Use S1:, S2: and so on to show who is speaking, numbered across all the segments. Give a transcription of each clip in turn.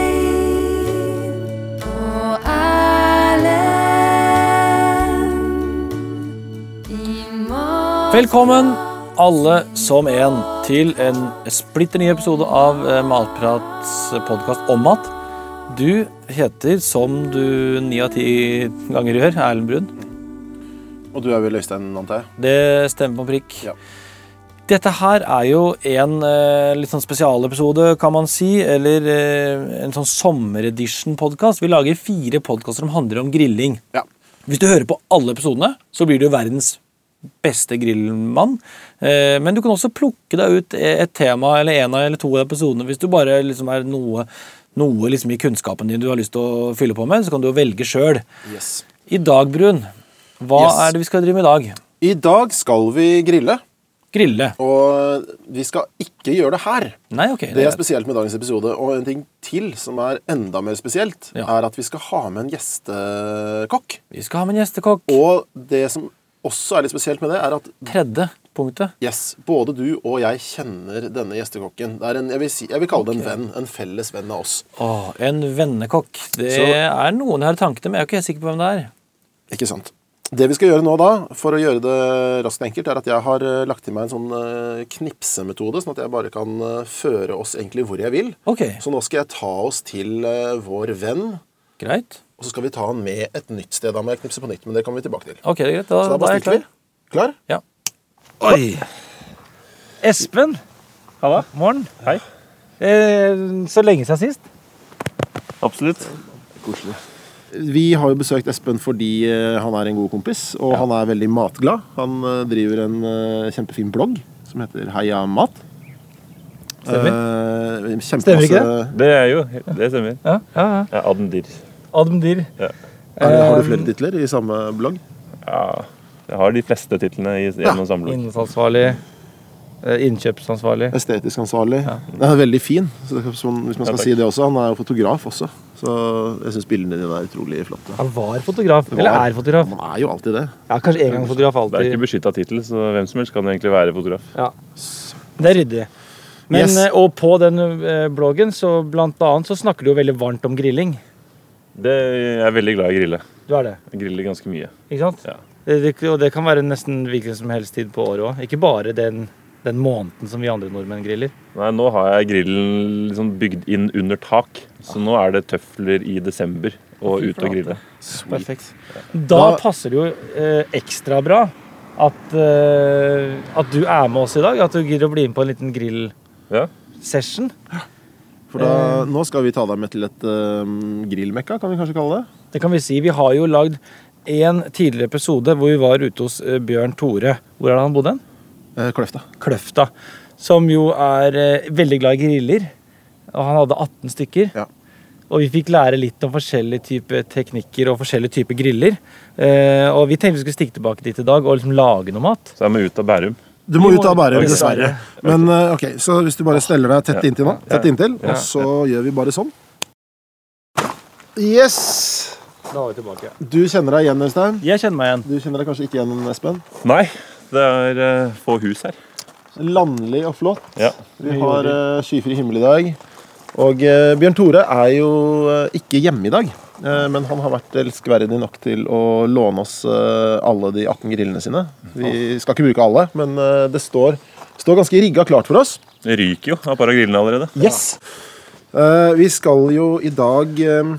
S1: Øystein og Erlend i morgen.
S2: Velkommen, alle som en, til en splitter ny episode av eh, Matprats podkast om mat. Du heter, som du ni av ti ganger gjør, Erlend Brun.
S3: Og du er vel Øystein, antar jeg?
S2: Det stemmer på prikk.
S3: Ja.
S2: Dette her er jo en eh, litt sånn spesialepisode, kan man si, eller eh, en sånn sommeredition-podkast. Vi lager fire podkaster som handler om grilling.
S3: Ja.
S2: Hvis du hører på alle episodene, så blir du verdens beste grillmann. Eh, Men du kan også plukke deg ut et tema eller en av eller to av episodene hvis du bare liksom er noe, noe liksom i kunnskapen din du har lyst til å fylle på med. Så kan du jo velge sjøl.
S3: Yes.
S2: I dag, Brun, hva
S3: Yes.
S2: er det vi skal drive med i dag?
S3: I dag skal vi grille,
S2: Grille.
S3: og vi skal ikke gjøre det her.
S2: Nei, ok.
S3: Det er spesielt med dagens episode, og en ting til som er enda mer spesielt,
S2: Ja.
S3: er at vi skal ha med en gjestekokk.
S2: Vi skal ha med en gjestekokk.
S3: Og det som også er litt spesielt med det, er at
S2: Tredje punktet.
S3: yes, både du og jeg kjenner denne gjestekokken. Det er en, jeg, vil si, jeg vil kalle det en venn, en felles venn av oss.
S2: Åh, en vennekokk. Det
S3: Så-
S2: er noen jeg har i tankene, men jeg er jo ikke helt sikker på hvem det er.
S3: Ikke sant. Det vi skal gjøre nå da, for å gjøre det raskt og enkelt, er at jeg har eh, lagt til meg en sånn eh, knipsemetode, sånn at jeg bare kan eh, føre oss egentlig hvor jeg vil.
S2: Ok,
S3: Så nå skal jeg ta oss til eh, vår venn,
S2: greit.
S3: og så skal vi ta han med et nytt sted. Da må jeg knipse på nytt, men det kommer vi tilbake
S4: Ah,
S3: til.
S2: Ok, det er greit. Da,
S3: Så da
S2: da
S3: bare
S2: er jeg
S3: stikker vi.
S2: klar.
S3: Klar?
S2: Ja.
S4: Oi! Espen!
S5: Halla.
S4: Morgen.
S5: Hei.
S4: Eh, så lenge siden sist.
S5: Absolutt.
S3: Koselig. Vi har jo besøkt Espen fordi eh, han er en god kompis, og han er veldig matglad. Han eh, driver en eh, kjempefin blogg som heter Heia mat. Eh, Stemmer.
S4: Stemmer ikke
S5: Det er jo Det stemmer.
S4: Ja, ja, ja.
S5: Jeg er Admdir.
S4: Adam Dyr.
S3: Er, har du flere titler i samme blogg?
S5: Ja. Jeg har de fleste titlene i i en og samme blogg.
S4: Innsatsvarlig. Eh, innkjøpsansvarlig.
S3: Estetisk ansvarlig. Den er veldig fin, så det er sånn, hvis man skal
S5: Ja, takk.
S3: si det også. Han er jo fotograf også, så jeg syns bildene dine er utrolig flotte.
S4: Han var fotograf.
S3: var-
S4: Eller er fotograf.
S3: Man er jo alltid det.
S4: Ja, Kanskje en gang fotograf,
S5: Det er ikke
S4: alltid.
S5: beskytta tittel, så hvem som helst kan egentlig være fotograf.
S4: Ja. Det er ryddig. Men,
S3: Yes.
S4: eh, Og på den eh, bloggen så blant annet så snakker du jo veldig varmt om grilling.
S5: Det, jeg er veldig glad i å grille.
S4: Du er det,
S5: Jeg griller ganske mye.
S4: ikke sant?
S5: Ja.
S4: Det, det, og det kan være nesten hvilken som helst tid på året òg. Ikke bare den, den måneden som vi andre nordmenn griller.
S5: Nei, nå har jeg grillen liksom bygd inn under tak, så nå er det tøfler i desember og
S4: Fy
S5: ut og
S4: flate.
S5: grille.
S4: Perfekt. Da
S3: Da-
S4: passer det jo eh, ekstra bra at, eh, at du er med oss i dag. At du gidder å bli med på en liten
S5: Ja.
S4: grillsession.
S3: For
S4: eh,
S3: da, nå skal vi ta deg med til et eh, grillmekka, kan vi kanskje kalle det.
S4: Det kan vi si. Vi har jo lagd en tidligere episode hvor vi var ute hos eh, Bjørn Tore. Hvor er det han bodde hen?
S3: Eh, Kløfta.
S4: Kløfta. Som jo er eh, veldig glad i griller. Og han hadde 18 stykker.
S3: Ja.
S4: Og vi fikk lære litt om forskjellige typer teknikker og forskjellige typer griller. Eh, og vi tenkte vi skulle stikke tilbake dit i dag og liksom lage noe mat.
S5: Så jeg må ut av Bærum.
S3: Du må
S4: Vi
S3: ut av
S4: må-
S3: Bærum, dessverre.
S4: dessverre.
S3: Men eh, ok, Så hvis du bare steller deg tett inntil nå, tett inntil,
S5: Ja.
S3: og så gjør vi bare sånn. Yes!
S4: Da var vi tilbake.
S3: Du kjenner deg igjen, Øystein.
S4: Jeg kjenner meg igjen.
S3: Du kjenner deg kanskje ikke igjen, Espen.
S5: Nei, det er eh, få hus her.
S3: Landlig og flott.
S5: Ja.
S3: Vi har eh, skyfri himmel i dag. Og eh, Bjørn Tore er jo eh, ikke hjemme i dag, eh, men han har vært elskverdig nok til å låne oss eh, alle de 18 grillene sine. Vi skal ikke bruke alle, men eh, det står, står ganske rigga klart for oss.
S5: Det ryker jo av par av grillene allerede.
S3: Yes! Eh, vi skal jo i dag eh,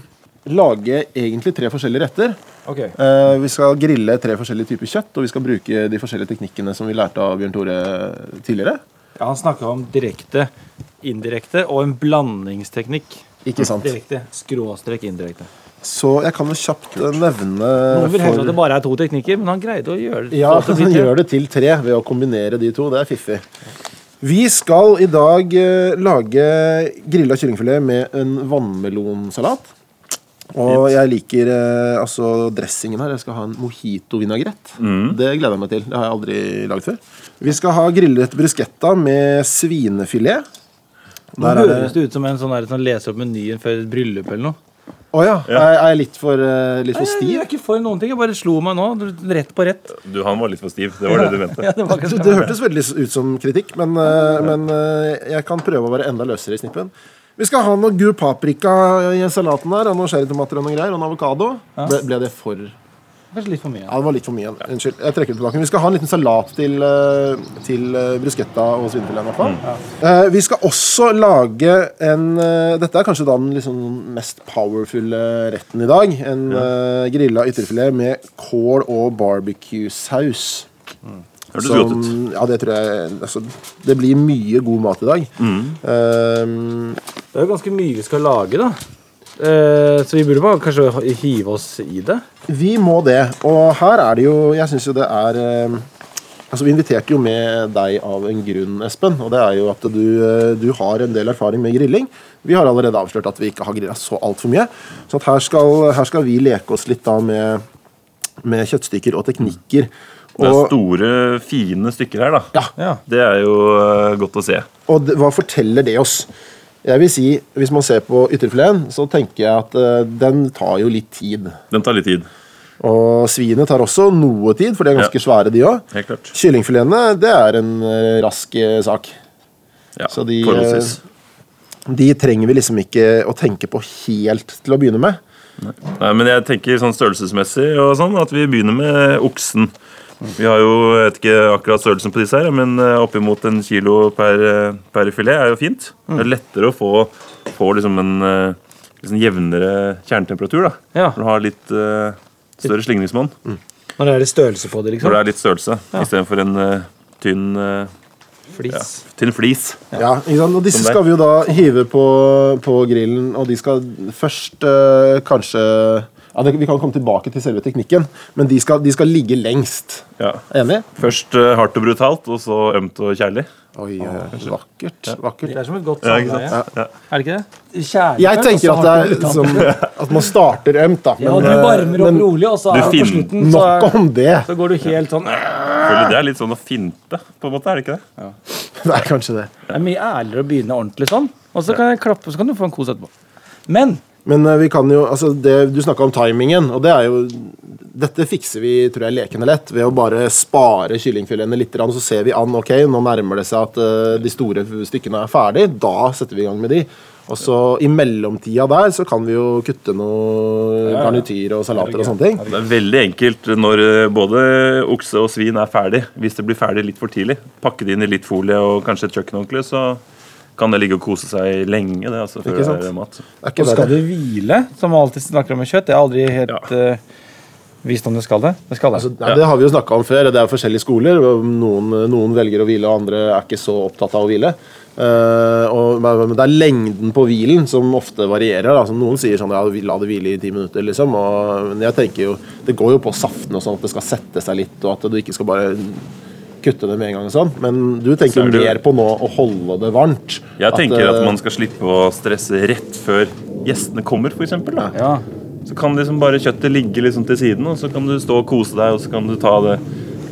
S3: lage egentlig tre forskjellige retter.
S4: Ok.
S3: Eh, vi skal grille tre forskjellige typer kjøtt, og vi skal bruke de forskjellige teknikkene som vi lærte av Bjørn Tore eh, tidligere.
S4: Ja, han snakka om direkte, indirekte og en blandingsteknikk.
S3: Ikke sant?
S4: Direkte, skråstrek indirekte.
S3: Så jeg kan jo kjapt eh, nevne
S4: Noen vil helst at
S3: for-
S4: det bare er to teknikker, men han greide å gjøre det.
S3: Ja,
S4: få til
S3: han
S4: sitt,
S3: gjør det til tre ved å kombinere de to. Det er fiffig. Vi skal i dag eh, lage grilla kyllingfilet med en vannmelonsalat. Og jeg liker eh, altså dressingen her. Jeg skal ha en mojito-vinagrett.
S4: Mm.
S3: Det gleder jeg meg til. Det har jeg aldri lagd før. Vi skal ha grillet bruschetta med svinefilet.
S4: Nå
S3: Der er
S4: høres
S3: det
S4: det ut som en sånn, der, sånn leser opp menyen før et bryllup eller noe.
S3: Å ja. Er, er jeg litt for, eh, litt for
S4: Jeg er
S3: stiv?
S4: ikke for noen ting. Jeg bare slo meg nå. du- Rett på rett.
S5: Du, han var litt for stiv. Det var det du mente.
S4: Ja, det var kanskje-
S3: Det, det hørtes veldig ut som kritikk, men, eh, men eh, jeg kan prøve å være enda løsere i snippen. Vi skal ha noe gul paprika i salaten der, og noen cherrytomater og noen greier, og en avokado. Ble, ble det for Ja,
S4: Kanskje litt for mye.
S3: det var litt for mye. Unnskyld. Jeg trekker det tilbake. Men vi skal ha en liten salat til, eh, til eh, bruschetta og svinefileten. i hvert
S5: Mm.
S3: fall. Eh, Vi skal også lage en eh, Dette er kanskje da den liksom mest powerfulle retten i dag. En eh, grilla ytrefilet med kål og barbecue-saus.
S5: Mm. Hørtes
S3: Som-
S5: godt ut.
S3: Ja, det tror jeg altså, Det blir mye god mat i dag.
S5: Mm.
S3: Ehm,
S4: Det er jo ganske mye vi skal lage, da. Eh, så vi burde bare kanskje h- hive oss i det.
S3: vi må det. Og her er det jo Jeg syns jo det er ehm, Altså, Vi inviterte jo med deg av en grunn, Espen. Og det er jo at du, eh, du har en del erfaring med grilling. Vi har allerede avslørt at vi ikke har grilla så altfor mye. Så at her, skal, her skal vi leke oss litt da med, med kjøttstykker og teknikker.
S5: Det er
S3: Og-
S5: store, fine stykker her, da.
S4: Ja.
S5: Det er jo eh, godt å se.
S3: Og det, hva forteller det oss? Jeg vil si, Hvis man ser på ytterfileten, så tenker jeg at eh, den tar jo litt tid.
S5: Den tar litt tid.
S3: Og svinet tar også noe tid, for de er ganske
S5: Ja.
S3: svære, de òg.
S5: Helt klart.
S3: Kyllingfiletene, det er en eh, rask eh, sak.
S5: Ja,
S3: Så de, eh,
S5: forholdsvis.
S3: De trenger vi liksom ikke å tenke på helt til å begynne med.
S5: Nei, men jeg tenker sånn størrelsesmessig og sånn at vi begynner med oksen. Vi har jo, jeg vet ikke akkurat størrelsen på disse her, men eh, oppimot en kilo per, eh, per filet er jo fint.
S3: Mm.
S5: Det er lettere å få, få liksom en eh, liksom jevnere kjernetemperatur, da.
S4: Ja.
S5: Når du har litt eh, større slingringsmonn.
S3: Mhm.
S4: Når det er litt størrelse på det, liksom.
S5: Når det er litt størrelse, istedenfor en eh, tynn, eh,
S4: Flis.
S5: tynn flis.
S3: Ja, ikke sant? Og disse
S5: Som det.
S3: skal vi jo da hive på, på grillen, og de skal først eh, kanskje ja, det, Vi kan komme tilbake til selve teknikken, men de skal, de skal ligge lengst.
S5: Ja.
S3: Enig?
S5: Først eh, hardt og brutalt, og så ømt og kjærlig.
S3: Oi, eh, vakkert.
S4: Det
S3: vakkert.
S4: er som et godt
S5: Ja, ikke sant?
S4: samleie. Er det ikke det? Kjærlighet,
S3: Jeg
S4: og
S3: tenker
S4: så
S3: at,
S4: har
S3: det
S4: du
S3: er, som, at man starter ømt, da.
S4: Ja, du
S3: eh,
S4: varmer opp
S3: men
S4: rolig, og så er
S5: Du
S4: det på
S5: finner-
S4: slutten så,
S3: nok
S4: er,
S3: om det.
S4: så går du helt sånn
S5: Føler Det er litt sånn å finte, på en måte, er det ikke det?
S3: Det er kanskje det.
S4: Det er mye ærligere å begynne ordentlig sånn, og så kan jeg klappe, så kan du få en kos etterpå. Men
S3: Men eh, vi kan jo, altså det, du snakka om timingen, og det er jo Dette fikser vi tror jeg, lekende lett ved å bare spare kyllingfiletene litt. grann, Så ser vi an ok, nå nærmer det seg at eh, de store stykkene er ferdig. Da setter vi i gang med de. Og så i mellomtida der så kan vi jo kutte noe garnityr og salater og sånne ting.
S5: Det er veldig enkelt når eh, både okse og svin er ferdig. Hvis det blir ferdig litt for tidlig, pakke det inn i litt folie og kanskje et kjøkkenhåndkle, så kan det ligge og kose seg lenge. det, altså, før
S3: Ikke sant?
S5: det er mat.
S3: Det er
S4: og
S3: ikke
S4: skal
S3: verre.
S4: det hvile, som man alltid snakker om med kjøtt. Jeg har aldri helt
S5: Ja.
S4: eh, visst om det skal det. Det skal det.
S3: Altså, nei, det har vi jo snakka om før. Det er jo forskjellige skoler. og Noen, noen velger å hvile, og andre er ikke så opptatt av å hvile. Eh, og, men men det er lengden på hvilen som ofte varierer. Da. Så noen sier sånn ja, vi- la det hvile i ti minutter, liksom. Og, men jeg tenker jo Det går jo på saften og sånn at det skal sette seg litt, og at du ikke skal bare kutte det med en gang og sånn. Men du tenker
S5: Så er
S3: jo
S5: det jo-
S3: mer på nå å holde det varmt.
S5: Jeg tenker at
S3: eh,
S5: man skal slippe å stresse rett før gjestene kommer, f.eks.
S4: ja.
S5: Så kan liksom bare kjøttet ligge liksom til siden, og så kan du stå og kose deg, og så kan du ta det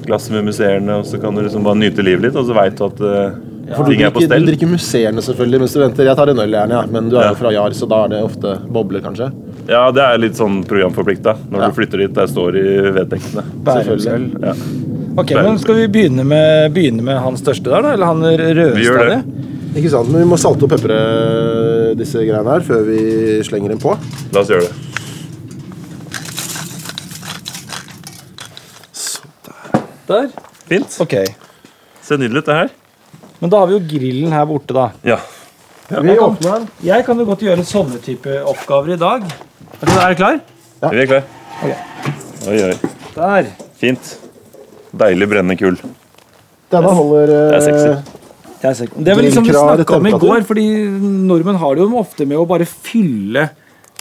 S5: glasset med musserende, og så kan du liksom bare nyte livet litt, og så veit du at eh,
S3: for du
S5: ting er
S3: drikker,
S5: på
S3: du
S5: stell.
S3: drikker musserende selvfølgelig mens du venter. Jeg tar en øl gjerne, ja. men du er
S5: Ja.
S3: jo fra Jar, så da er det ofte bobler, kanskje.
S5: Ja, det er litt sånn programforplikta når
S3: Ja.
S5: du flytter dit. Der står det i vedtektene.
S4: Bærumsøl.
S5: Ja.
S4: Ok, men Skal vi begynne med, begynne med han største der, da? Eller han
S5: Vi
S4: rødeste
S5: gjør
S4: av
S5: det.
S4: det?
S3: Ikke sant, men Vi må salte og pepre disse greiene her før vi slenger dem på.
S5: La oss gjøre det.
S4: Der.
S5: Fint.
S4: Ok.
S5: Ser nydelig ut, det her.
S4: Men da har vi jo grillen her borte, da.
S5: Ja.
S3: Vi åpner den.
S4: Jeg kan jo godt gjøre sånne type oppgaver i dag. Er du, er du klar?
S5: Vi er klare.
S4: Ok.
S5: Oi, oi.
S4: Der.
S5: Fint. Deilig brennende kull.
S3: Denne holder eh,
S5: Det er sexy.
S4: Det var liksom vi
S3: Grillkrar,
S4: snakka om i
S3: temperatur.
S4: går, fordi nordmenn har det jo ofte med å bare fylle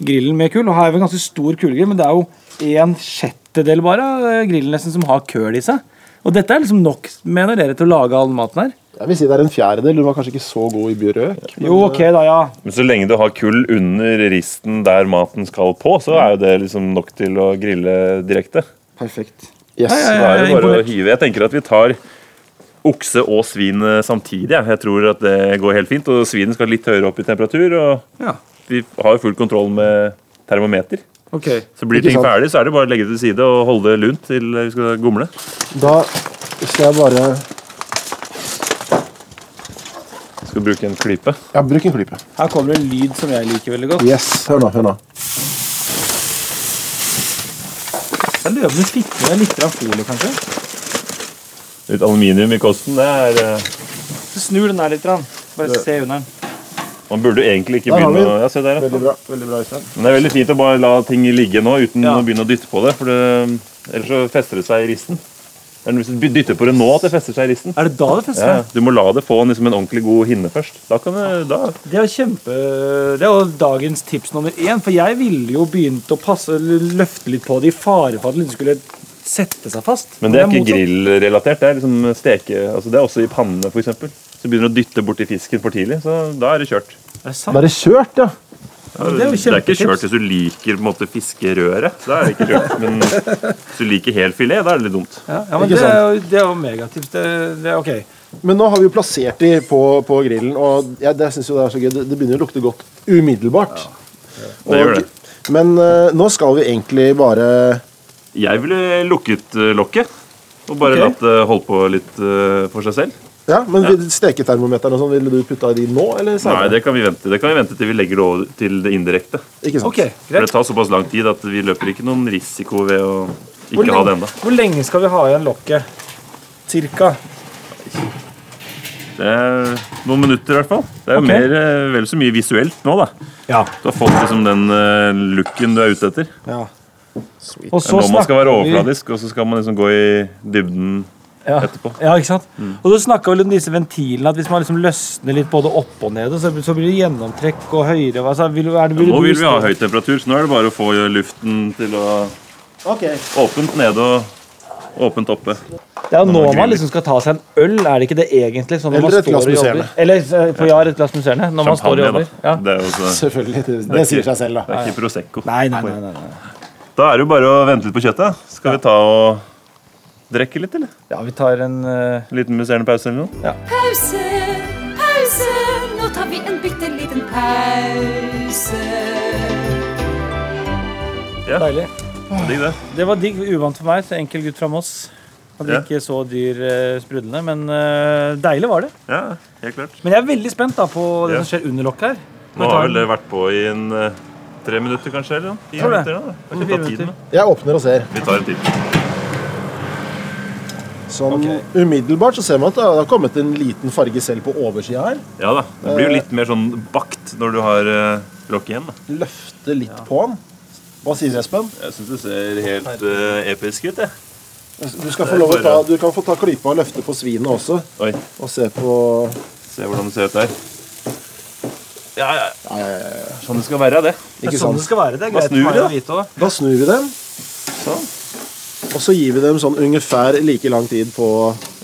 S4: grillen med kull. Og her er vi en ganske stor kullgrill, men det er jo en sjettedel bare av grillen nesten som har køl i seg. Og dette er liksom nok, mener dere, til å lage all maten her?
S3: Jeg vil si det er en fjerdedel. Du var kanskje ikke så god i brøk.
S4: Jo, ok, da, ja.
S5: Men så lenge du har kull under risten der maten skal på, så er jo det liksom nok til å grille direkte.
S4: Perfekt.
S3: Yes.
S5: Så
S4: Nei, jeg
S5: da er det
S4: er
S5: bare å
S4: imponert.
S5: hive. Jeg tenker at vi tar okse og svin eh, samtidig. jeg. Jeg tror at det går helt fint. Og svinet skal litt høyere opp i temperatur. og...
S4: Ja.
S5: vi har jo full kontroll med termometer.
S4: Ok.
S5: Så blir
S3: Ikke
S5: ting
S3: sant.
S5: ferdig, så er det bare å legge det til side og holde det lunt til vi skal gomle.
S3: Da skal jeg bare
S5: Skal bruke en klype.
S3: Ja, bruk en klype.
S4: Her kommer det en lyd som jeg liker veldig godt.
S3: Yes, hør nå. hør nå.
S4: Jeg lurer på om du fikk med deg litt grann folie, kanskje?
S5: Litt aluminium i kosten, det er eh,
S4: Så snur den der litt. grann. Bare se under den.
S5: Man burde jo egentlig ikke
S3: Der har
S5: begynne
S3: vi den.
S5: å Ja, se der, ja.
S3: Veldig bra. veldig bra, Øystein.
S5: Men det er veldig fint å bare la ting ligge nå uten
S4: Ja.
S5: å begynne å dytte på det. For det, ellers så fester det seg i risten. Det er Hvis du dytter på det nå, at det fester seg i risten.
S4: Er det da det fester
S5: Ja,
S4: seg?
S5: ja. du må la det få en, liksom, en ordentlig god hinne først. Da kan det, da.
S4: Det er jo kjempe... Det er jo dagens tips nummer én. For jeg ville jo begynt å passe, løfte litt på det i fare for at det ikke skulle sette seg fast.
S5: Men det er ikke
S4: motsatt.
S5: grillrelatert. Det er liksom steke... Altså, det er også i pannene, f.eks. Hvis du begynner å dytte borti fisken for tidlig, så da er det kjørt.
S4: Er det sant?
S3: Da er det kjørt, ja.
S4: det er jo
S5: ikke
S4: kjempetips.
S5: kjørt hvis du liker på en måte, fiskerøret. Da er det ikke kjørt. Men hvis du liker hel filet, da er det litt dumt.
S4: Ja, ja, men
S3: Ikke
S4: det er jo, det er jo megatips. Det, det er ok.
S3: Men nå har vi jo plassert de på, på grillen, og jeg, det synes jo det er så gøy. Det, det begynner å lukte godt umiddelbart.
S5: Det gjør det.
S3: Men eh, nå skal vi egentlig bare
S5: Jeg ville lukket eh, lokket. Og bare
S4: Ok.
S5: latt det holde på litt eh, for seg selv.
S3: Ja, men vil- steketermometeren og sånn, ville du putta de nå, eller
S5: Nei,
S3: senere?
S5: det kan vi vente Det kan vi vente til vi legger det over til det indirekte.
S3: Ikke sant?
S4: Ok,
S5: For det
S4: greit.
S5: tar såpass lang tid at vi løper ikke noen risiko ved å
S4: Hvor
S5: ikke ha det
S4: lenge,
S5: ennå.
S4: hvor lenge skal vi ha igjen lokket? Cirka.
S5: Det er noen minutter i hvert fall. Det er jo
S4: Ok.
S5: mer, eh, vel så mye visuelt nå, da.
S4: Ja.
S5: Du har fått liksom den eh, looken du er ute etter.
S4: ja. Og
S5: Det er
S4: så
S5: nå man skal
S4: snakker
S5: være
S4: vi-
S5: overfladisk, og så skal man liksom gå i dybden
S4: ja.
S5: etterpå.
S4: Ja, ikke sant? Og så snakka vi om disse ventilene, at hvis man liksom løsner litt både opp og ned, så, så blir det gjennomtrekk og høyere altså, vil, er det, vil
S5: Nå
S4: du-
S5: vil vi ha høy temperatur, så nå er det bare å få luften til å
S3: Ok.
S5: Åpent nede og åpent oppe.
S4: Det er jo nå
S5: man griller.
S4: man liksom skal ta seg en øl, er det ikke det egentlig? Sånn når
S3: Eller
S4: man
S3: et glass
S4: står og jobber.
S3: musserende.
S4: Eller eh, på ja, et glass musserende. Når man står og
S5: Champagne, da.
S4: jobber. Ja.
S5: Det er jo så,
S3: Selvfølgelig. Det, det sier seg selv,
S5: det
S3: da.
S5: er ikke Prosecco.
S4: Nei, nei, nei, nei, nei.
S5: Da er det jo bare å vente litt på kjøttet. Skal vi ta og drikke litt, eller?
S4: Ja, vi tar en eh,
S5: En liten musserende pause eller noe?
S1: Pause, pause, nå tar vi en bitte liten pause.
S4: Deilig.
S5: Digg det.
S4: Det var digg. Uvant for meg. Så enkel gutt fra Moss. Hadde
S5: Ja.
S4: ikke så dyr eh, sprudlende, men eh, deilig var det.
S5: Ja, helt klart.
S4: Men jeg er veldig spent da på det
S5: Ja.
S4: som skjer under lokket her.
S5: Nå har vel det vært på i en eh, tre minutter, kanskje? eller noe? Fire
S4: Tror det.
S5: minutter, da. Det har ikke
S4: Fire
S5: tatt tiden,
S4: minutter.
S5: da.
S3: Jeg åpner og ser.
S5: Vi tar en til.
S3: Sånn umiddelbart så ser man at det har kommet en liten farge selv på oversida her.
S5: Ja da. Det blir jo litt mer sånn bakt når du har eh, lokk igjen, da.
S3: Løfte litt på den. Hva sier du, Espen?
S5: Jeg syns det ser helt eh, episk ut, jeg.
S3: Du, skal få lov å ta, du kan få ta klypa og løfte på svinet også,
S5: Oi,
S3: og se på
S5: se hvordan det ser ut der. Ja, ja, ja. Sånn det skal være, det.
S4: Det
S3: Ikke
S4: er sånn det
S3: sant?
S4: skal være. Det er
S5: Hva
S4: greit
S5: snur
S4: for meg å
S5: vi, da?
S4: vite også.
S3: Da snur vi dem,
S5: Sånn.
S3: og så gir vi dem sånn ungefær like lang tid på,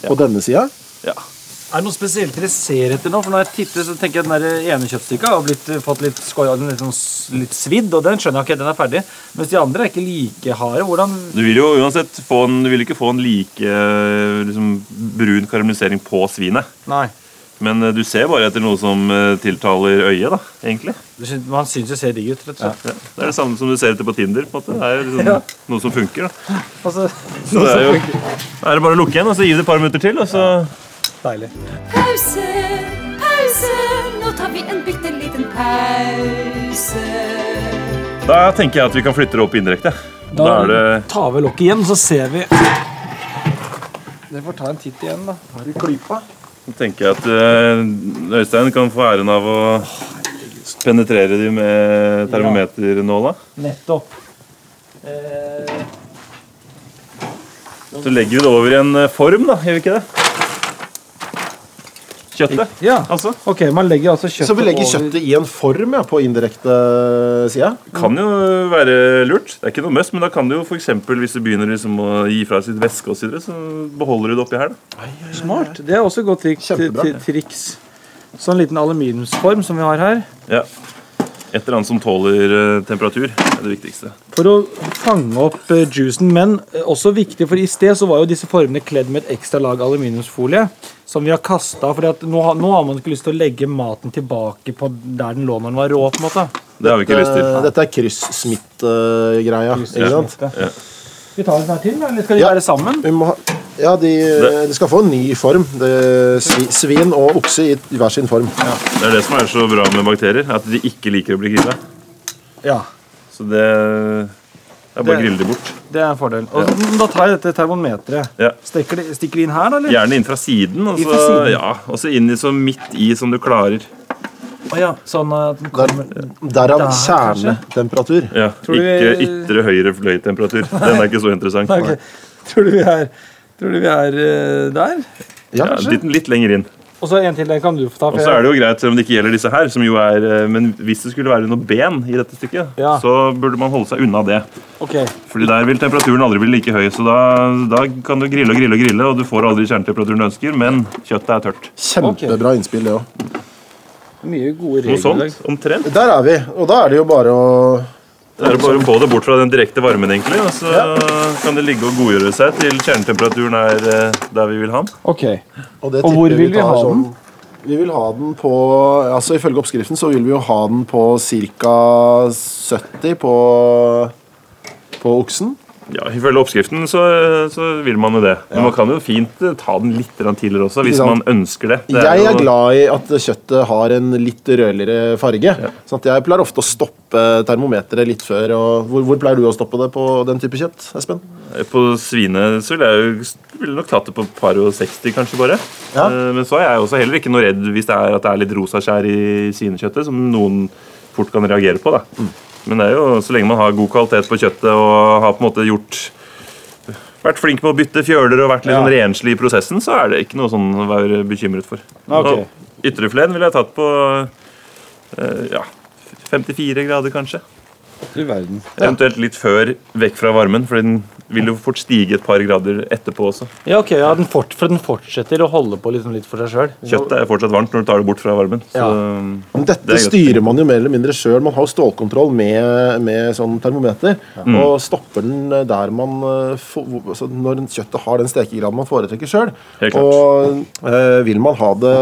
S3: på denne sida.
S5: Ja.
S4: Er det noe spesielt dere ser etter nå? For når jeg titter, så tenker jeg at den der ene kjøttstykket har blitt, eh, fått litt, skoja- den er litt, sånn, s- litt svidd, og den skjønner jeg ikke, den er ferdig. Mens de andre er ikke like harde. Hvordan
S5: Du vil jo uansett få en, du vil ikke få en like eh, liksom, brun karamellisering på svinet.
S4: Nei.
S5: Men eh, du ser bare etter noe som eh, tiltaler øyet, da, egentlig.
S4: det syn- Man syns det ser digg ut, rett og slett.
S5: Ja. Det er det samme som du ser etter på Tinder. på en måte. Det er jo liksom
S4: Ja.
S5: noe som funker. da.
S4: Altså,
S5: Så det er jo da er det bare å lukke igjen og så gi det et par minutter til. og så...
S4: deilig.
S1: Pause, pause, nå tar vi en bitte liten pause.
S5: Da tenker jeg at vi kan flytte det opp indirekte. Da er det
S4: tar vi lokket igjen, så ser vi.
S3: Dere får ta en titt igjen, da. Har du klypa?
S5: da tenker jeg at eh, Øystein kan få æren av å penetrere de med termometernåla.
S4: Nettopp. Eh,
S5: Så legger vi det over i en eh, form, da. Gjør vi ikke det? Kjøttet,
S4: ja.
S5: altså.
S4: Ok, man legger altså kjøttet
S3: Så vi legger
S4: over-
S3: kjøttet i en form ja, på indirekte sida.
S5: Kan jo være lurt. Det er ikke noe must, men da kan du jo for eksempel, hvis du begynner liksom å gi fra sitt væske osv., så, videre, så beholder du det oppi her. da.
S4: Smart. Det er også et godt trik
S3: Kjempebra.
S4: tri- triks. Sånn liten aluminiumsform som vi har her.
S5: Ja. Et eller annet som tåler eh, temperatur, er det viktigste.
S4: For å fange opp eh, juicen, men eh, også viktig, for i sted så var jo disse formene kledd med et ekstra lag aluminiumsfolie, som vi har kasta, for nå, har- nå har man ikke lyst til å legge maten tilbake på der den lå når den var rå, på en måte.
S5: Det har vi ikke lyst
S4: Eh,
S5: til.
S3: Eh, Dette er kryssmitt-greia. ikke sant?
S4: Vi tar en snart til, da, eller skal de
S3: Ja.
S4: være sammen?
S3: Vi må ha, ja, de, de skal få en ny form. Det, svi, svin og okse i hver sin form.
S5: Det er det som er så bra med bakterier, at de ikke liker å bli grilla.
S4: Ja,
S5: Så det, det er bare å grille de bort.
S4: det er en fordel. Og Da tar jeg dette termometeret.
S5: Ja.
S4: Stikker det, stikker det inn her, da? eller?
S5: Gjerne inn fra siden, og
S4: Inn
S5: så,
S4: fra siden.
S5: ja, og så inn i så midt i som du klarer.
S4: Å ja, sånn at den
S3: Der,
S4: kommer
S3: derav
S4: Der, kanskje?
S3: kjernetemperatur.
S5: Ja,
S4: Tror du
S5: ikke
S4: vi-
S5: ytre høyre fløytemperatur. Den er ikke så interessant.
S4: Nei, ok. Tror du vi er, tror du vi er eh, der?
S3: Ja,
S5: Ja,
S3: kanskje?
S5: litt, litt lenger inn.
S4: Og så en til den kan du få ta.
S5: Og så er det jo greit, selv om det ikke gjelder disse her, som jo er eh, Men hvis det skulle være noe ben i dette stykket,
S4: Ja.
S5: så burde man holde seg unna det. Fordi der vil temperaturen aldri bli like høy, så da, da kan du grille og grille og grille, og du får aldri kjernetemperaturen du ønsker, men kjøttet er tørt.
S3: Kjempebra innspill, det òg.
S4: Mye gode regler.
S5: Noe
S4: i dag.
S5: sånt, omtrent.
S3: Der er vi. Og da er det jo bare å
S5: Det er bare å få det bort fra den direkte varmen, egentlig, og så kan det ligge og godgjøre seg til kjernetemperaturen er eh, der vi vil ha den.
S4: Ok.
S3: det
S4: Og hvor
S3: tipper
S4: vil vi
S3: tar
S4: ha
S3: sånn-
S4: den?
S3: Vi vil ha den på Altså Ifølge oppskriften så vil vi jo ha den på ca. 70 på, på oksen.
S5: Ja, Ifølge oppskriften så, så vil man jo det. Men man kan jo fint eh, ta den litt grann tidligere også, hvis
S3: Ikke
S5: man
S3: sant?
S5: ønsker det. det
S3: Jeg er
S5: jo-
S3: glad i at kjøttet har en litt rødligere farge. Sånn at jeg pleier ofte å stoppe termometeret litt før. Og hvor, hvor pleier du å stoppe det på den type kjøtt, Espen?
S5: På svine så ville jeg jo ville nok tatt det på par og 60, kanskje bare.
S3: Ja.
S5: Eh, Men så er jeg også heller ikke noe redd hvis det er at det er litt rosa skjær i svinekjøttet, som noen fort kan reagere på. da. Men det er jo, så lenge man har god kvalitet på kjøttet og har på en måte gjort vært flink med å bytte fjøler og vært litt sånn renslig i prosessen, så er det ikke noe sånn å være bekymret for.
S4: Ok.
S5: Og Ytrefleten ville jeg tatt på eh, ja, 54 grader, kanskje.
S4: Du verden.
S5: Eventuelt litt før vekk fra varmen, for den vil jo fort stige et par grader etterpå også.
S4: Ja, ok, ja, den fort, for den fortsetter å holde på liksom litt for seg sjøl.
S5: Kjøttet er fortsatt varmt når du tar det bort fra varmen. Så
S3: Men
S5: Det
S3: dette
S5: er godt.
S3: styrer man jo mer eller mindre sjøl. Man har jo stålkontroll med, med sånn termometer.
S5: Mm.
S3: Og stopper den der man eh, får, hvor- altså Når kjøttet har den stekegraden man foretrekker sjøl.
S5: Helt klart.
S3: Og eh, vil man ha det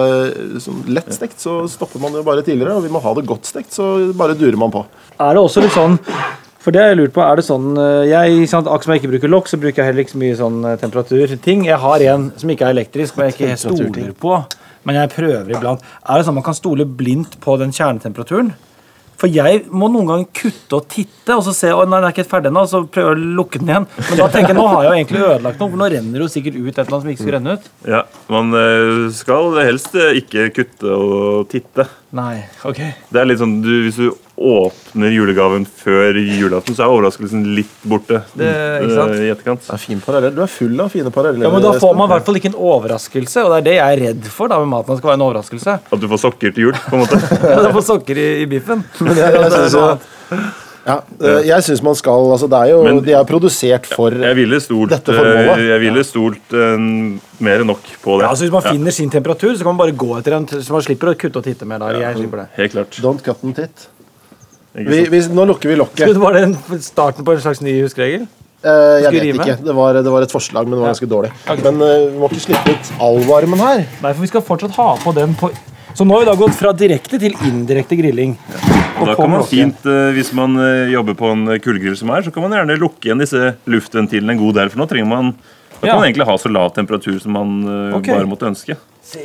S3: sånn lett stekt, så stopper man jo bare tidligere. Og vil man ha det godt stekt, så bare durer man på.
S4: Er det også litt sånn For det har jeg lurt på, er det sånn eh, jeg, ikke sant, Akkurat som jeg ikke bruker lokk, så bruker jeg heller ikke så mye sånn eh, temperaturting. Jeg har en som ikke er elektrisk, men jeg ikke helt stoler på. Men jeg prøver iblant. Er det sånn man kan stole blindt på den kjernetemperaturen? For jeg må noen ganger kutte og titte, og så se, å nei, den er ikke helt ferdig ennå, og så prøver jeg å lukke den igjen. Men da tenker jeg, nå har jeg jo egentlig ødelagt noe, for nå renner det jo sikkert ut et eller annet som ikke skulle renne ut.
S5: ja, man eh, skal helst eh, ikke kutte og titte.
S4: Nei, ok.
S5: Det er litt sånn, du, Hvis du åpner julegaven før julaften, så er overraskelsen litt borte
S4: Det- ikke sant?
S5: eh, i etterkant.
S3: Det er fin parallell. Du er full av fine paralleller.
S4: Ja, men Da får
S3: Espen.
S4: man i hvert fall ikke en overraskelse, og det er det jeg er redd for. da med maten, at det skal være en overraskelse.
S5: At du får sokker til jul. på en måte.
S4: Ja, da får sokker i, i biffen.
S3: Men jeg, jeg synes jo- ja, eh, jeg syns man skal altså Det er jo
S5: Men-
S3: De er produsert for eh,
S5: Jeg ville stolt,
S3: Dette formålet.
S5: eh, jeg ville stolt eh, mer enn nok på det.
S4: Ja, altså Hvis man finner sin temperatur, så kan man bare gå etter den, så man slipper å kutte og titte mer. da, jeg slipper det.
S5: Helt klart.
S3: Don't cut and tit.
S5: Ikke
S3: Vi,
S5: sant?
S3: vi, nå lukker vi lokket.
S4: Skulle det Var det en- starten på en slags ny huskeregel?
S3: Eh, jeg vet
S4: Skulle rime?
S3: ikke. Det var, det var et forslag, men det var ganske dårlig. Men eh, vi må ikke slippe ut all varmen her.
S4: Nei, for vi skal fortsatt ha på den på Så nå har vi da gått fra direkte til indirekte grilling. Og
S5: Da
S4: kommer
S5: kan man
S4: lokket.
S5: fint, eh, Hvis man eh, jobber på en eh, kullgrill som er, så kan man gjerne lukke igjen disse luftventilene en god del. For nå trenger man da kan
S4: Ja.
S5: man egentlig ha så lav temperatur som man eh,
S4: Ok.
S5: bare måtte ønske.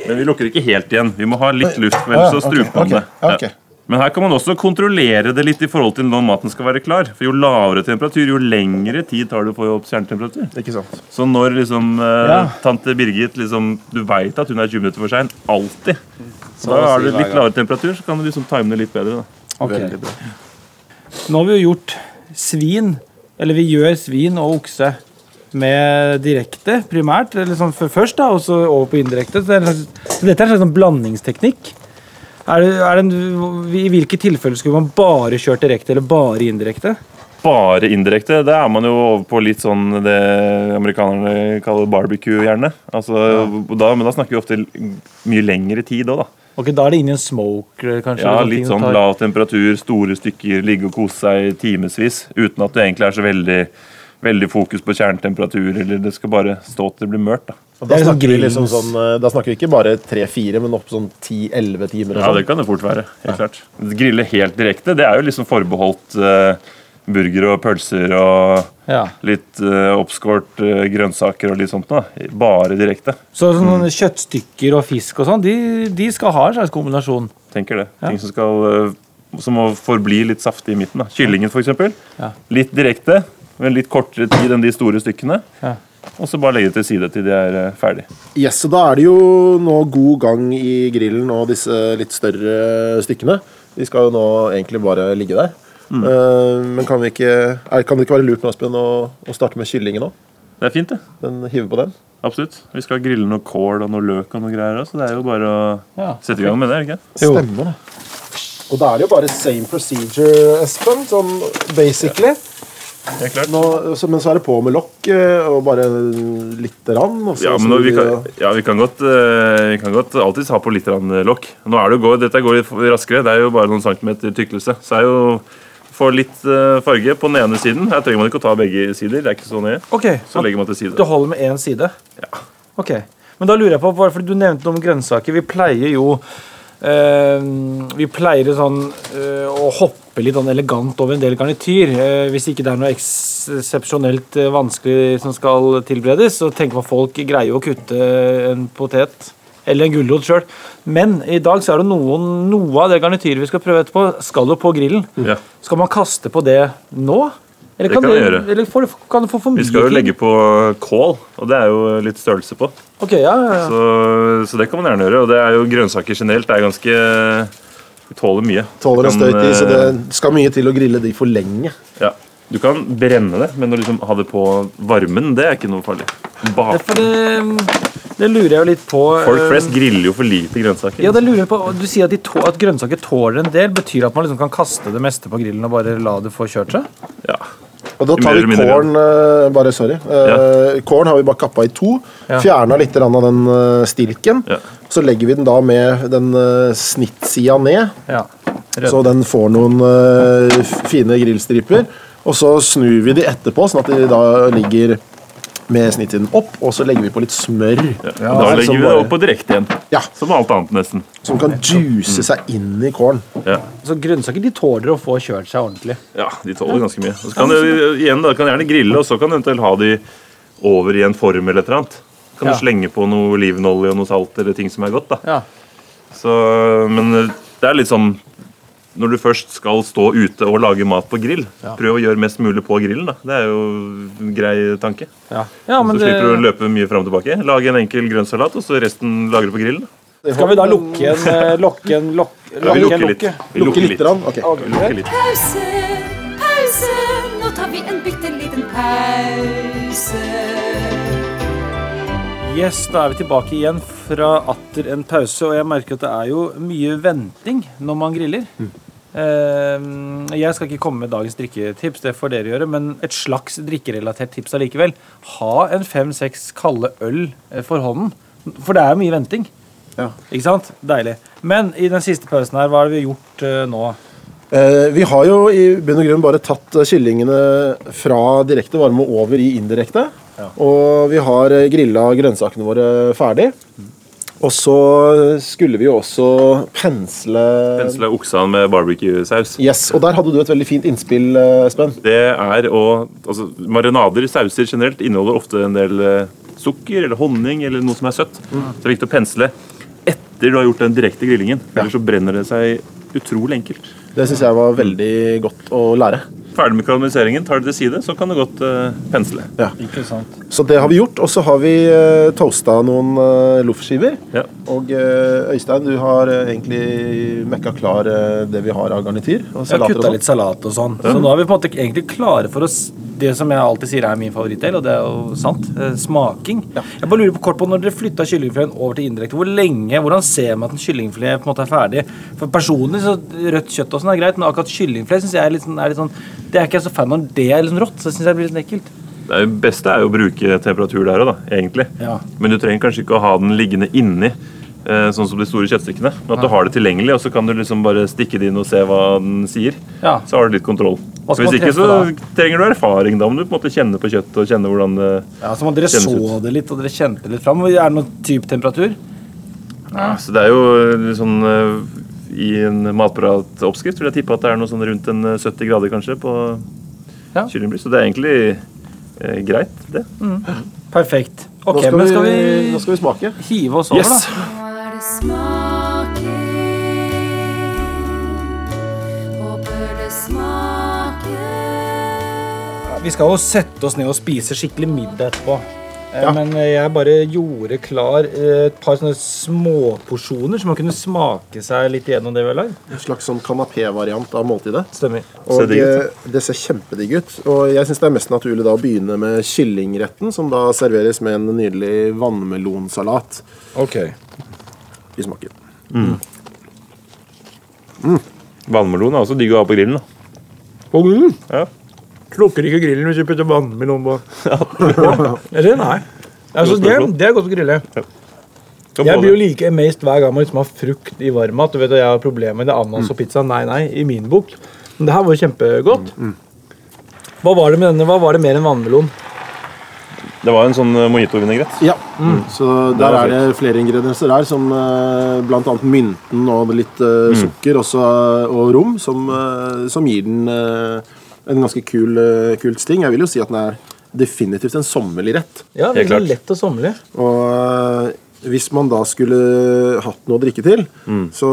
S5: Men vi lukker ikke helt igjen. Vi må ha litt luft, for ellers
S3: ja,
S5: så struper
S3: ok,
S5: man det.
S3: ok, ok.
S5: Ja. Men her kan man også kontrollere det litt i forhold til når maten skal være klar. For jo lavere temperatur, jo lengre tid tar det å få opp kjernetemperatur.
S3: Ikke sant?
S5: Så når liksom eh,
S4: Ja.
S5: tante Birgit liksom, Du veit at hun er 20 minutter for sein. Alltid. Så da
S3: å
S5: har
S3: si
S5: du
S3: hver
S5: litt
S3: gang.
S5: lavere temperatur, så kan du liksom time det litt bedre. da.
S4: Ok.
S3: Veldig bra.
S4: Nå har vi jo gjort svin, eller vi gjør svin og okse med direkte, primært, eller sånn f- først da, og så over på indirekte. Så, det er en slags, så dette er en slags sånn blandingsteknikk. Er det, er det en, I hvilke tilfeller skulle man bare kjørt direkte eller bare indirekte?
S5: bare indirekte. Da er man jo over på litt sånn det amerikanerne kaller barbecue, gjerne. Altså, da, men da snakker vi ofte l- mye lengre tid òg, da.
S4: Ok, Da er det inn i en smoker, kanskje?
S5: Ja,
S4: eller sånne ting
S5: litt
S4: som
S5: sånn
S4: tar-
S5: lav temperatur, store stykker, ligge og kose seg i timevis uten at det egentlig er så veldig, veldig fokus på kjernetemperatur, eller det skal bare stå til det blir mørkt. da.
S3: Og
S4: Det
S3: da,
S4: er sånn
S3: snakker vi liksom
S4: grillens-
S3: sånn, eh, da snakker vi ikke bare 3-4, men opp sånn 10-11 timer.
S5: Ja,
S3: Og sånn.
S5: det kan det fort være. helt klart. Grille helt direkte, det er jo liksom forbeholdt eh, burger og pølser og
S4: Ja.
S5: litt eh, oppskåret eh, grønnsaker og litt sånt. da. Bare direkte.
S4: Så
S5: Mm.
S4: sånn kjøttstykker og fisk og sånn, de, de skal ha en slags kombinasjon.
S5: Tenker det. Ting som skal eh, som må forbli litt saftig i midten. da. Kyllingen, f.eks.
S4: Ja.
S5: Litt direkte, men litt kortere tid enn de store stykkene.
S4: Ja.
S5: Og så bare legge det til side til de er eh, ferdig.
S3: Yes, så da er det jo nå god gang i grillen og disse litt større stykkene. De skal jo nå egentlig bare ligge der. Eh, men kan, vi ikke, er, kan det ikke være lurt nå, Espen, å, å starte med kyllingen nå?
S5: Det er fint, det.
S3: Den, hive på den?
S5: Absolutt. Vi skal grille noe kål og noe løk og noe greier også, så det er jo bare å
S4: Ja.
S5: sette i gang med det. er det ikke?
S4: Jo.
S3: Stemmer det. Og da er det jo bare same procedure, Espen, sånn basically.
S5: Det er klart.
S3: Nå, så, men så er det på med lokk eh, og bare lite grann. og så
S5: Ja, men
S3: snur
S5: nå, vi, kan,
S3: og-
S5: ja, vi, kan godt, eh, vi kan godt alltids ha på litt grann, eh, lokk. Nå er det jo går, dette går litt raskere, det er jo bare noen centimeter tykkelse. Så er jo Får litt eh, farge på den ene siden. Her trenger man ikke å ta begge sider. det er ikke Så nøye.
S4: Ok,
S5: Så legger man til
S4: Det
S5: side.
S4: holder med én side? Ok. Men da lurer jeg på, bare fordi du nevnte noe om grønnsaker. Vi pleier jo eh, Vi pleier sånn eh, å hoppe litt sånn elegant over en del garnityr. Eh, hvis ikke det er noe eksepsjonelt eh, vanskelig som skal tilberedes, så tenker man folk greier jo å kutte en potet eller en gulrot sjøl. Men i dag så er det noen, noe av det garnityret vi skal prøve etterpå, skal jo på grillen.
S5: Ja.
S4: Skal man kaste på det nå? Eller
S5: Det kan vi gjøre.
S4: Eller får, kan det få for mye?
S5: Vi skal jo
S4: til?
S5: legge på kål, og det er jo litt størrelse på.
S4: Ok, ja, ja, ja.
S5: Så, så det kan man gjerne gjøre. Og det er jo grønnsaker generelt. Det er ganske de Tåler mye.
S3: Tåler en
S5: Kan,
S3: støyt i, så det
S5: eh,
S3: skal mye til å grille de for lenge.
S5: Ja. Du kan brenne det, men å liksom ha det på varmen, det er ikke noe farlig.
S4: Ja,
S5: Bak.
S4: for det, det lurer jeg jo litt på.
S5: Folk
S4: eh,
S5: flest griller jo for lite grønnsaker.
S4: Ja, det lurer jeg på. Du sier at, de tå, at grønnsaker tåler en del. Betyr det at man liksom kan kaste det meste på grillen og bare la det få kjørt seg?
S5: Ja.
S3: Og da
S5: I
S3: tar
S5: mer
S3: vi
S5: eller mindre
S3: kålen eh, bare, sorry. Eh, Kålen har vi bare kappa i to.
S4: Ja.
S3: Fjerna litt grann av den eh, stilken.
S5: Ja.
S3: Så legger vi den da med den eh, snittsida ned,
S4: Ja.
S3: så den får noen eh, f- fine grillstriper. Og så snur vi de etterpå, sånn at de da ligger med snittsiden opp, og så legger vi på litt smør.
S5: Og da
S3: Som
S5: legger vi det
S3: bare-
S5: opp på direkte igjen.
S3: Ja,
S5: Som alt annet, nesten.
S3: Som kan juice seg inn i kålen.
S5: Ja,
S4: Så grønnsaker de tåler å få kjørt seg ordentlig.
S5: ja de tåler ganske mye. Og Så kan du igjen da, kan gjerne grille, og så kan du eventuelt ha de over i en form eller et eller annet. Kan
S4: Ja.
S5: du slenge på noe olivenolje og noe salt eller ting som er godt. da.
S4: Ja.
S5: Så, men det er litt sånn Når du først skal stå ute og lage mat på grill, prøv å gjøre mest mulig på grillen. da. Det er jo en grei tanke.
S4: Ja, ja men
S5: så
S4: det,
S5: slipper du å løpe mye fram og tilbake. Lage en enkel grønnsalat, og så resten lager du på grillen. da.
S4: skal vi da lukke en eh, lokke en lokke?
S5: Ja,
S4: lokke
S5: vi
S4: en
S5: lukker litt.
S4: lokke?
S5: Vi lukker litt.
S3: Grann. ok.
S5: Vi lukker litt.
S1: Pause, pause, nå tar vi en bitte liten pause.
S4: Yes, da er vi tilbake igjen fra atter en pause, og jeg merker at det er jo mye venting når man griller. Eh, Jeg skal ikke komme med dagens drikketips, det får dere gjøre, men et slags drikkerelatert tips allikevel. Ha en fem-seks kalde øl eh, for hånden, for det er mye venting.
S3: Ja.
S4: Ikke sant? Deilig. Men i den siste pausen her, hva har vi gjort eh, nå?
S3: Eh, vi har jo i bunn og grunn bare tatt eh, kyllingene fra direkte varme og over i indirekte. Og vi har eh, grilla grønnsakene våre ferdig. Og så skulle vi jo også pensle
S5: Pensle oksaen med barbecue-saus.
S3: Yes, Og der hadde du et veldig fint innspill, eh, Espen.
S5: Det er å altså, Marinader, sauser generelt, inneholder ofte en del eh, sukker eller honning eller noe som er søtt. Så det er viktig å pensle etter du har gjort den direkte grillingen. Ellers så brenner det seg utrolig enkelt.
S3: Det syns jeg var veldig godt å lære.
S5: Ferdig med karamelliseringen, tar det til side, så kan du godt eh, pensle.
S4: Ikke sant?
S3: Så det har vi gjort. Og så har vi eh, toasta noen eh, loffskiver.
S5: Ja.
S3: Og eh, Øystein, du har eh, egentlig mekka klar eh, det vi har av garnityr. Og
S4: Jeg har
S3: salater og
S4: kutta
S3: sånt.
S4: litt salat og sånn. Så nå er vi på en måte egentlig klare for oss det som jeg alltid sier er min favorittdel, og det er jo sant. eh, Smaking. Jeg bare lurer på kort på når dere flytta kyllingfileten over til indirekte, hvor lenge, hvordan ser man at en kyllingfilet på en måte er ferdig? For personlig så rødt kjøtt og sånn er greit, men akkurat kyllingfilet synes jeg er litt, sånn, er litt sånn Det er ikke jeg så fan av når det er liksom rått, så det syns jeg blir litt ekkelt.
S5: Det er- beste er jo å bruke temperatur der òg, da, egentlig.
S4: Ja.
S5: Men du trenger kanskje ikke å ha den liggende inni. Eh, eh, sånn som de store kjøttstykkene. Men at du har det tilgjengelig, og så kan du liksom bare stikke det inn og se hva den sier.
S6: Ja.
S5: Så har du litt kontroll.
S6: Hva skal man
S5: Hvis ikke så
S6: treffe
S5: trenger du erfaring. Da må du på en måte kjenne på kjøttet og kjenne hvordan det
S4: Ja, så må dere
S5: Kjennes
S4: så
S5: ut.
S4: det litt, og dere kjente litt fram. Er det noen type temperatur?
S5: ja, Så det er jo litt sånn eh, I en matprat-oppskrift vil jeg tippe at det er noe sånn rundt en eh, 70 grader kanskje på
S4: Ja.
S5: kyllingbryst. Så det er egentlig eh, greit, det.
S4: Perfekt.
S3: Nå
S4: Ok,
S3: skal,
S4: men
S3: vi,
S4: skal vi
S3: nå skal vi smake.
S4: hive oss over,
S5: Yes.
S4: da?
S1: Nå er det smaking. Håper det smaker.
S4: Vi skal jo sette oss ned og spise skikkelig middag etterpå. Eh, Men jeg bare gjorde klar eh, et par sånne småporsjoner, så man kunne smake seg litt gjennom det vi har lagd.
S3: En slags sånn kanapé-variant av måltidet.
S4: Stemmer.
S3: Og
S5: Ser digg ut.
S3: eh, det ser kjempedigg ut. Og jeg syns det er mest naturlig da å begynne med kyllingretten, som da serveres med en nydelig vannmelonsalat.
S4: Ok.
S3: Vi smaker.
S5: Vannmelon er også digg å ha på grillen. da.
S4: På grillen?
S5: Ja.
S4: Slukker ikke grillen hvis du putter vannmelon på. Eller nei. Altså,
S5: Godt
S4: det,
S5: spørsmål.
S4: det er godt å grille.
S5: Kan
S4: Jeg
S5: både-
S4: blir jo like amazed hver gang man liksom har frukt i varmmat. Du vet at jeg har problemer med det ananas og pizza. Nei, nei, i min bok. Men det her var jo kjempegodt. Hva var det med denne? Hva var det mer enn vannmelon?
S5: Det var en sånn eh, mojito-vinaigrett.
S3: Ja, Mm. Så der
S5: var
S3: er det flere ingredienser her, som eh, blant annet mynten og litt eh, sukker også, og rom, som, eh, som gir den eh, en ganske kul, eh, kult sting. Jeg vil jo si at den er definitivt en sommerlig rett.
S4: Ja,
S5: Helt
S4: veldig
S5: klart.
S4: lett og sommerlig.
S3: Og eh, hvis man da skulle hatt noe å drikke til,
S5: Mm.
S3: så,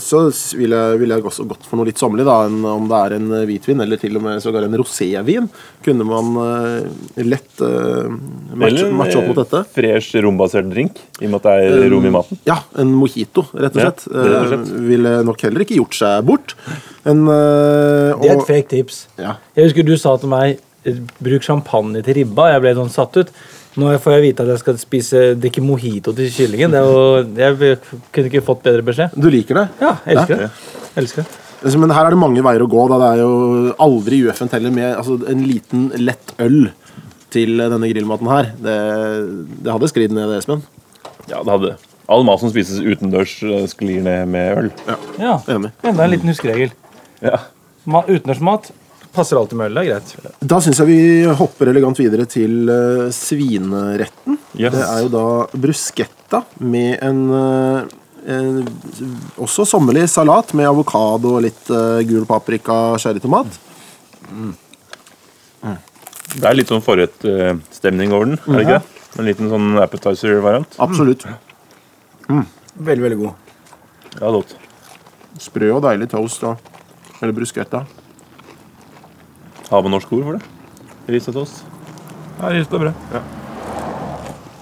S3: så s- ville jeg, ville jeg også gått for noe litt sommerlig, da, enn om det er en eh, hvitvin, eller til og med sågar en rosévin. Kunne man eh, lett eh, matche,
S5: Eller
S3: matche opp mot dette.
S5: eh, fresh rombasert drink, i og med at det er rom i maten.
S3: Ja, en mojito, rett og
S5: Ja,
S3: slett.
S5: rett og slett.
S3: Eh, ville nok heller ikke gjort seg bort. En, eh,
S4: Det er et
S3: og-
S4: fake tips.
S3: Ja.
S4: Jeg husker du sa til meg eh, bruk champagne til ribba. Jeg ble sånn satt ut. Nå får jeg vite at jeg skal spise, drikke mojito til kyllingen. Det er jo, jeg kunne ikke fått bedre beskjed.
S3: Du liker det?
S4: Ja, elsker det. Elsker det.
S3: Altså, Men her er det mange veier å gå. Da. Det er jo aldri UFN teller med altså, en liten, lett øl til denne grillmaten her. Det, det hadde sklidd ned, det, Espen.
S5: Ja, det hadde det. All mat som spises utendørs, eh, sklir ned med øl.
S4: Ja.
S3: Enig.
S4: Enda en liten huskeregel.
S5: Ja.
S4: Ma- Utendørsmat passer alltid med øl. Det er greit.
S3: Da syns jeg vi hopper elegant videre til eh, svineretten.
S5: Yes.
S3: Det er jo da bruschetta med en, eh, en også sommerlig salat med avokado og litt eh, gul paprika og sherrytomat.
S5: Det er litt sånn forrettstemning over den. er det ikke det? En liten sånn appetizer-variant.
S3: Absolutt. Mm.
S4: Veldig, veldig god.
S5: Ja, det er godt.
S3: Sprø og deilig toast. Da. Eller bruschetta.
S5: Har man norsk ord for det? Ris og toast. Ja, ris og brød. Ja.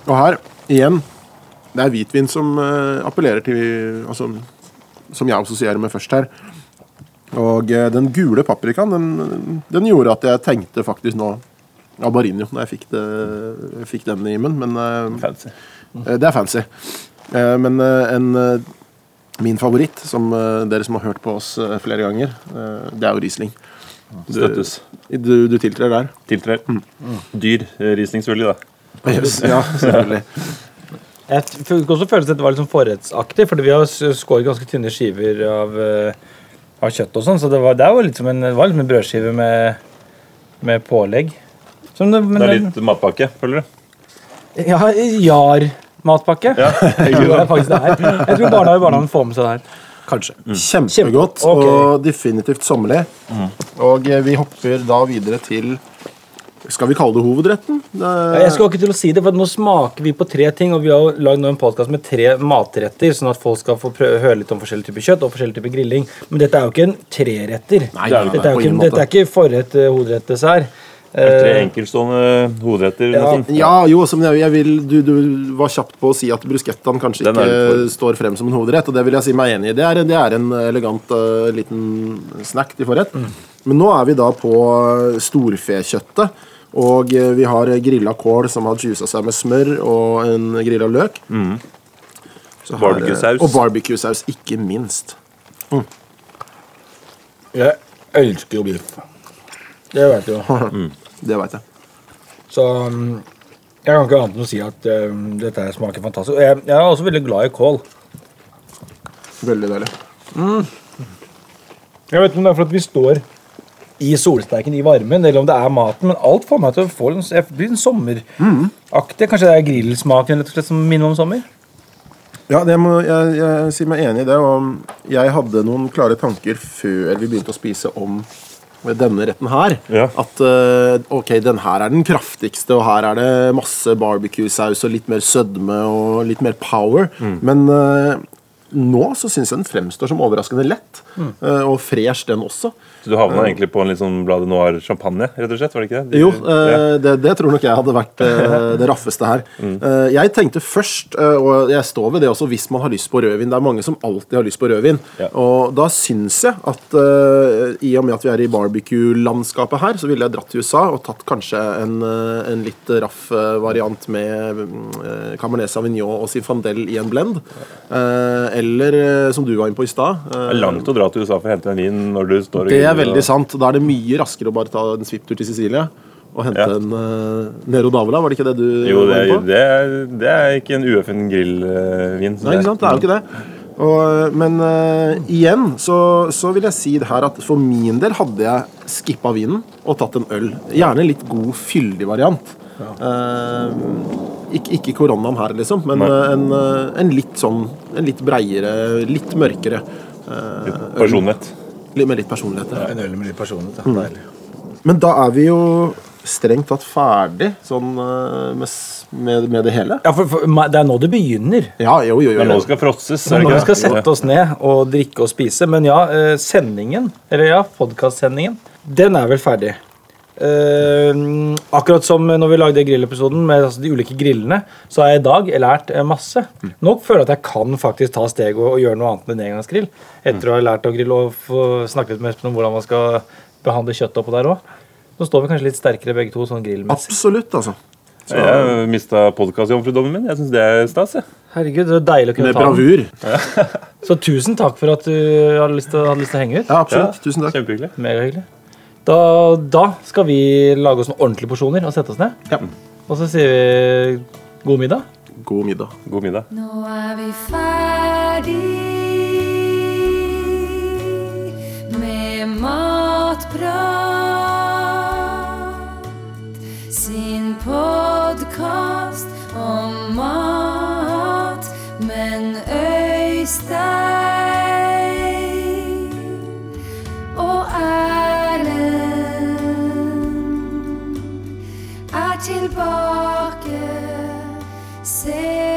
S3: Og her, igjen, det er hvitvin som eh, appellerer til Altså, som jeg assosierer med først her. Og eh, den gule paprikaen, den, den gjorde at jeg tenkte faktisk nå Albarinio, da jeg fikk, det, jeg fikk den i munnen, men eh,
S5: Fancy.
S3: Eh, Det er fancy. Eh, Men eh, en, eh, min favoritt, som eh, dere som har hørt på oss eh, flere ganger, eh, det er jo Riesling.
S5: Støttes.
S3: Du, du tiltrer der?
S5: Tiltrer. Dyr eh, Riesling, selvfølgelig. da.
S3: Yes, ja, selvfølgelig.
S4: Jeg t- fikk også følelsen at det var litt sånn forrettsaktig, fordi vi har s- skåret ganske tynne skiver av, eh, av kjøtt og sånn, så det var, det er jo litt som en, det var litt som en brødskive med, med pålegg. Som det, men,
S5: Det er litt matpakke, føler du?
S4: Ja, Jar-matpakke.
S5: Ja.
S4: det er faktisk det her. Jeg tror barna i barnehagen får med seg det her.
S3: Kanskje. Kjempegodt
S4: Kjempe- ok.
S3: og definitivt sommerlig. Og eh, vi hopper da videre til Skal vi kalle det hovedretten?
S4: Ja, Jeg skal ikke til å si det, for at nå smaker vi på tre ting, og vi har jo lagd nå en podcast med tre matretter, sånn at folk skal få prøve, høre litt om forskjellige typer kjøtt og forskjellige typer grilling. Men dette er jo ikke en treretter.
S3: Nei, nei, nei,
S4: dette, er
S3: på
S4: jo ikke,
S3: ingen måte.
S4: dette er ikke forrett, eh, hovedrett, dessert.
S5: Tre
S4: Eh,
S5: enkeltstående hovedretter.
S4: ja.
S5: nesten.
S3: Ja, jo, som jeg, jeg vil, du, du var kjapt på å si at bruschettaen kanskje
S5: Den er
S3: ikke
S5: litt
S3: står frem som en hovedrett, og det vil jeg si meg enig i. Det er, det er en elegant eh, liten snack til forrett.
S5: Mm.
S3: Men nå er vi da på eh, storfekjøttet, og eh, vi har grilla kål som har juica seg med smør og en grilla løk.
S5: Mm.
S3: Så her, eh,
S5: Barbecue-saus.
S3: Og barbecue-saus, ikke minst.
S4: jeg elsker jo biff. Det vet du jo.
S3: Det veit jeg.
S4: Så mm, jeg kan ikke annet enn å si at eh, dette her smaker fantastisk. Og Jeg, jeg er også veldig glad i kål.
S3: Veldig deilig.
S4: Jeg vet ikke om det er for at vi står i solsteiken i varmen, eller om det er maten, men alt får meg til å få en, jeg blir en sommeraktig. Kanskje det er grillsmaken rett og slett som minner om sommer?
S3: Ja, det må, jeg, jeg sier meg enig i det. Og jeg hadde noen klare tanker før vi begynte å spise om denne retten her.
S5: Ja.
S3: At eh, ok, den her er den kraftigste, og her er det masse barbecue-saus og litt mer sødme og litt mer power. Men eh, nå så syns jeg den fremstår som overraskende lett, eh, og fresh, den også.
S5: Så du havna egentlig på en litt sånn Bladet Noir champagne, rett og slett? var det ikke det? De-
S3: Eh. Jo,
S5: ja.
S3: eh, det, det tror nok jeg hadde vært eh, det raffeste her.
S5: Mm.
S3: Eh, Jeg tenkte først, eh, og jeg står ved det også, hvis man har lyst på rødvin. Det er mange som alltid har lyst på rødvin.
S5: Ja.
S3: Og da syns jeg at eh, i og med at vi er i barbecue-landskapet her, så ville jeg dratt til USA og tatt kanskje en, eh, en litt raff eh, variant med eh, Cabernet Sauvignon og Sinfandel i en blend. Eh, Eller eh, som du var inne på i stad. eh,
S5: Det er langt å dra til USA for å hente en vin når du står
S3: det er veldig sant. Da er det mye raskere å bare ta en svipptur til Sicilia og hente
S5: Ja.
S3: en eh, Nero Davola, var det ikke det du
S5: Jo, det
S3: var
S5: er,
S3: inne på?
S5: det er, det er ikke en uøffen grillvin.
S3: Nei, ikke sant? Det er jo ikke det. Og, men eh, igjen så, så vil jeg si det her at for min del hadde jeg skippa vinen og tatt en øl. Gjerne en litt god, fyldig variant. Eh, ikke, ikke koronaen her, liksom, men eh, en, eh, en litt sånn En litt breiere, litt mørkere. eh, øl.
S5: Personlighet.
S3: Litt- Med litt personlighet. Ja.
S4: En øl med litt personlighet.
S3: Men da er vi jo strengt tatt ferdig sånn eh, med, s- med, med det hele.
S4: Ja, for, for, meg- det er nå det begynner.
S3: Ja, jo, jo, jo.
S5: Det er nå
S3: jo.
S5: det skal frosses.
S4: Det er nå vi skal
S5: det?
S4: sette oss ned og drikke og spise. Men ja, eh, sendingen, eller ja, podkastsendingen, den er vel ferdig. Eh, akkurat som når vi lagde grillepisoden med altså, de ulike grillene, så har jeg i dag lært eh, masse. Nå føler jeg at jeg kan faktisk ta steg og, og gjøre noe annet enn en engangsgrill. Etter å ha lært å grille og få snakke litt med Espen om hvordan man skal behandle kjøttet oppå der òg. Nå står vi kanskje litt sterkere begge to sånn grillmessig.
S3: Absolutt, altså.
S5: Ja. Jeg mista podkastjomfrudommen min. Jeg syns det er stas. jeg.
S4: Herregud, det er deilig å kunne
S3: Med
S4: ta den.
S3: bravur.
S4: Så tusen takk for at du hadde lyst til, hadde lyst til å henge ut.
S3: Ja, absolutt. Tusen takk.
S5: Kjempehyggelig.
S4: Megahyggelig. Da, da skal vi lage oss noen ordentlige porsjoner og sette oss ned.
S3: Ja.
S4: Og så sier vi god middag.
S3: God middag.
S5: God middag.
S1: Nå er vi ferdig med Matprat sin podkast om mat, men Øystein og Erlend er tilbake. Se